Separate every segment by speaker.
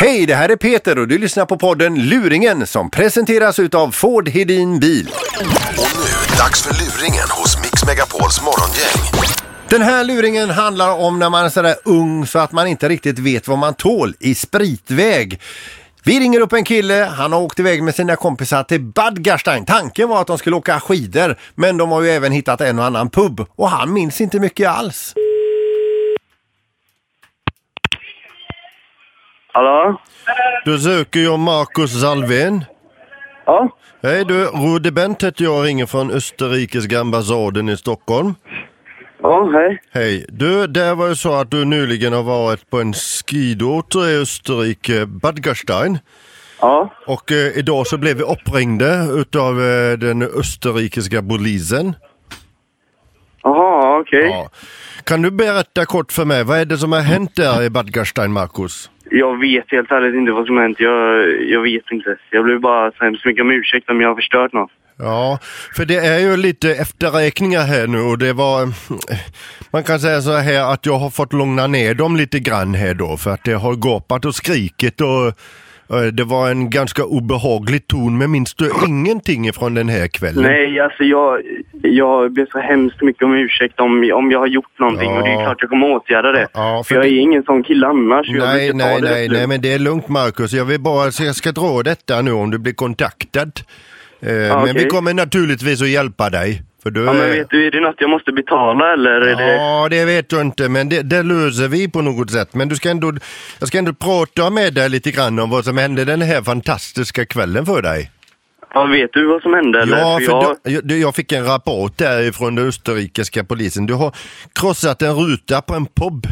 Speaker 1: Hej, det här är Peter och du lyssnar på podden Luringen som presenteras utav Ford Hedin Bil.
Speaker 2: Och nu, dags för luringen hos Mix Megapols morgongäng.
Speaker 1: Den här luringen handlar om när man är sådär ung så att man inte riktigt vet vad man tål i spritväg. Vi ringer upp en kille, han har åkt iväg med sina kompisar till Bad Gastein. Tanken var att de skulle åka skidor, men de har ju även hittat en och annan pub och han minns inte mycket alls.
Speaker 3: Hallå?
Speaker 1: Då söker jag Marcus Salven.
Speaker 3: Ja?
Speaker 1: Hej du, Rudi Bent heter jag ringer från Österrikes ambassaden i Stockholm.
Speaker 3: Ja, hej.
Speaker 1: Hej. Du, det var ju så att du nyligen har varit på en skidort i Österrike, Bad Gastein.
Speaker 3: Ja,
Speaker 1: Och eh, idag så blev vi uppringda utav eh, den österrikiska polisen.
Speaker 3: jaha, okej.
Speaker 1: Ja. Kan du berätta kort för mig, vad är det som har hänt där i Bad Gastein, Marcus?
Speaker 3: Jag vet helt ärligt inte vad som har hänt. Jag, jag vet inte. Jag blev bara så hemskt mycket om ursäkt om jag har förstört något.
Speaker 1: Ja, för det är ju lite efterräkningar här nu och det var... Man kan säga så här att jag har fått lugna ner dem lite grann här då för att det har gapat och skrikit och eh, det var en ganska obehaglig ton men minns du ingenting från den här kvällen?
Speaker 3: Nej, alltså jag, jag ber så hemskt mycket om ursäkt om, om jag har gjort någonting.
Speaker 1: Ja.
Speaker 3: Och det är klart jag kommer åtgärda det.
Speaker 1: Ja, för
Speaker 3: för jag
Speaker 1: det-
Speaker 3: är ingen sån kille annars. Jag
Speaker 1: Nej,
Speaker 3: brukar ta
Speaker 1: nej,
Speaker 3: det
Speaker 1: nej,
Speaker 3: rätt
Speaker 1: nej,
Speaker 3: lugnt.
Speaker 1: men det är lugnt Marcus. Jag vill bara, så jag ska dra detta nu om du blir kontaktad. Eh, Men vi
Speaker 3: okej.
Speaker 1: kommer naturligtvis att hjälpa dig. För du
Speaker 3: Ja, men
Speaker 1: är-
Speaker 3: vet du, är det något jag måste betala eller? Är det...
Speaker 1: Ja, det vet jag inte, men det, det löser vi på något sätt. Men du ska ändå, jag ska ändå prata med dig lite grann om vad som hände den här fantastiska kvällen för dig.
Speaker 3: ja, vet du vad som hände eller?
Speaker 1: Ja, för
Speaker 3: jag...
Speaker 1: du- jag, du, jag fick en rapport därifrån den österrikiska polisen. Du har krossat en ruta på en pub.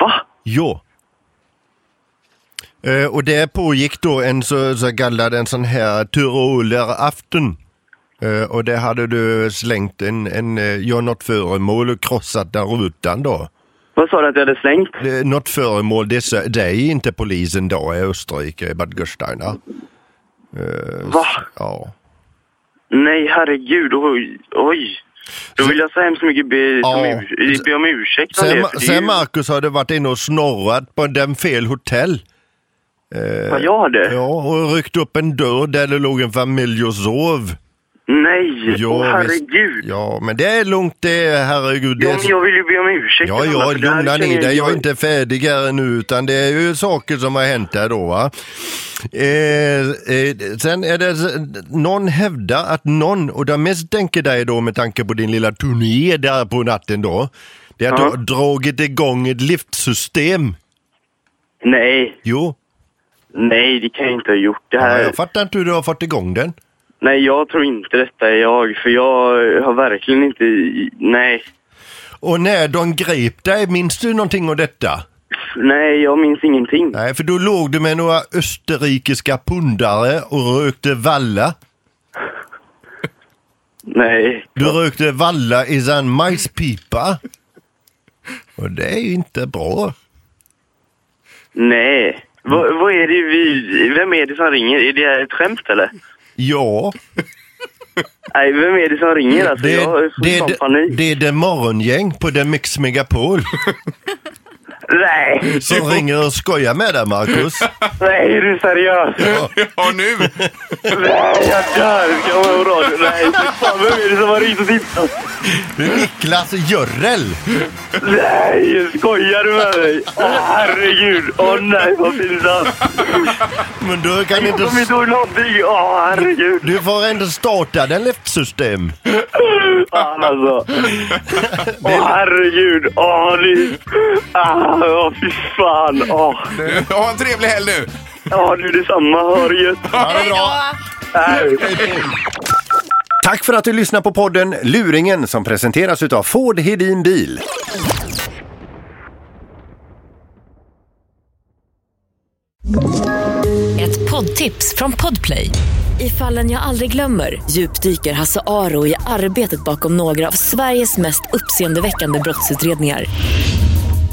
Speaker 3: Va?
Speaker 1: Ja. Eh, och det pågick då en så, så kallad en sån här tyrolerafton. Eh, och där hade du slängt en, en eh, ja, något föremål och krossat den rutan då.
Speaker 3: Vad sa du att jag hade slängt?
Speaker 1: Det- Eh, Något föremål, det sö- det är inte polisen då i Österrike, i Bad Gastein. ja.
Speaker 3: Va?
Speaker 1: Ja.
Speaker 3: Nej, herregud. Oj. oj. Då vill jag så hemskt mycket be,
Speaker 1: Ja.
Speaker 3: om, ur, be om ursäkt om
Speaker 1: Sen,
Speaker 3: det.
Speaker 1: Ma-
Speaker 3: för det är
Speaker 1: sen
Speaker 3: ju-
Speaker 1: Marcus har du varit inne och snorrat på den fel hotell.
Speaker 3: Ja, jag har det?
Speaker 1: Ja, och ryckt upp en dörr där det låg en familj och sov.
Speaker 3: Nej,
Speaker 1: Ja,
Speaker 3: åh,
Speaker 1: visst.
Speaker 3: herregud.
Speaker 1: Ja, men det är lugnt det, är- herregud. Det
Speaker 3: Ja,
Speaker 1: är
Speaker 3: men
Speaker 1: så...
Speaker 3: jag vill ju be om ursäkt.
Speaker 1: Ja,
Speaker 3: Anna,
Speaker 1: ja,
Speaker 3: för det här
Speaker 1: lugna
Speaker 3: känner
Speaker 1: ner dig. Jag är inte färdig här nu, utan det är ju saker som har hänt där då, va. Eh, eh, sen är det, någon hävdar att någon, och de mest tänker dig då med tanke på din lilla turné där på natten då, det är att
Speaker 3: Ja.
Speaker 1: du har dragit igång ett liftsystem.
Speaker 3: Nej,
Speaker 1: Jo,
Speaker 3: nej, det kan jag inte ha gjort. Det
Speaker 1: ja,
Speaker 3: här...
Speaker 1: jag fattar inte hur du har fått igång den.
Speaker 3: Nej, jag tror inte detta är jag. För jag har verkligen inte... Nej.
Speaker 1: Och när de grep dig, minns du någonting om detta?
Speaker 3: Nej, jag minns ingenting.
Speaker 1: Nej, för då låg du med några österrikiska pundare och rökte valla.
Speaker 3: Nej.
Speaker 1: Du rökte valla i en majspipa. Och det är ju inte bra.
Speaker 3: Nej. Vad, vad är det vi... Vem är det som ringer? Är det här ett skämt eller?
Speaker 1: Ja,
Speaker 3: Nej, vem är det som ringer? Alltså,
Speaker 1: det,
Speaker 3: jag får
Speaker 1: det,
Speaker 3: sån
Speaker 1: det,
Speaker 3: panik.
Speaker 1: det är det morgongäng på den Mix Megapol
Speaker 3: Nej,
Speaker 1: som ringer och skojar med dig, Marcus.
Speaker 3: nej, är du seriös?
Speaker 4: Ja, nu!
Speaker 3: Nej, jag dör! Ska jag vara på radio? Nej, fy fan, vem är det som har ringt och tittat?
Speaker 1: Det är Niklas Görrel.
Speaker 3: Nej, skojar du med mig? Åh, herregud! Åh nej, vad pinsamt!
Speaker 1: Men du kan
Speaker 3: Jag kommer
Speaker 1: inte...
Speaker 3: inte ihåg någonting! Åh, herregud!
Speaker 1: Du får ändå starta den liftsystem.
Speaker 3: Fan alltså! Åh, herregud! Åh, ni... Ah, åh, fy fan! Åh,
Speaker 4: Ha en trevlig helg nu!
Speaker 3: åh du detsamma! Ha det gött!
Speaker 1: Ha det bra.
Speaker 3: Nej.
Speaker 1: Tack för att du lyssnar på podden Luringen som presenteras utav Ford Hedin Bil.
Speaker 5: Ett poddtips från Podplay. I fallen jag aldrig glömmer djupdyker Hasse Aro i arbetet bakom några av Sveriges mest uppseendeväckande brottsutredningar.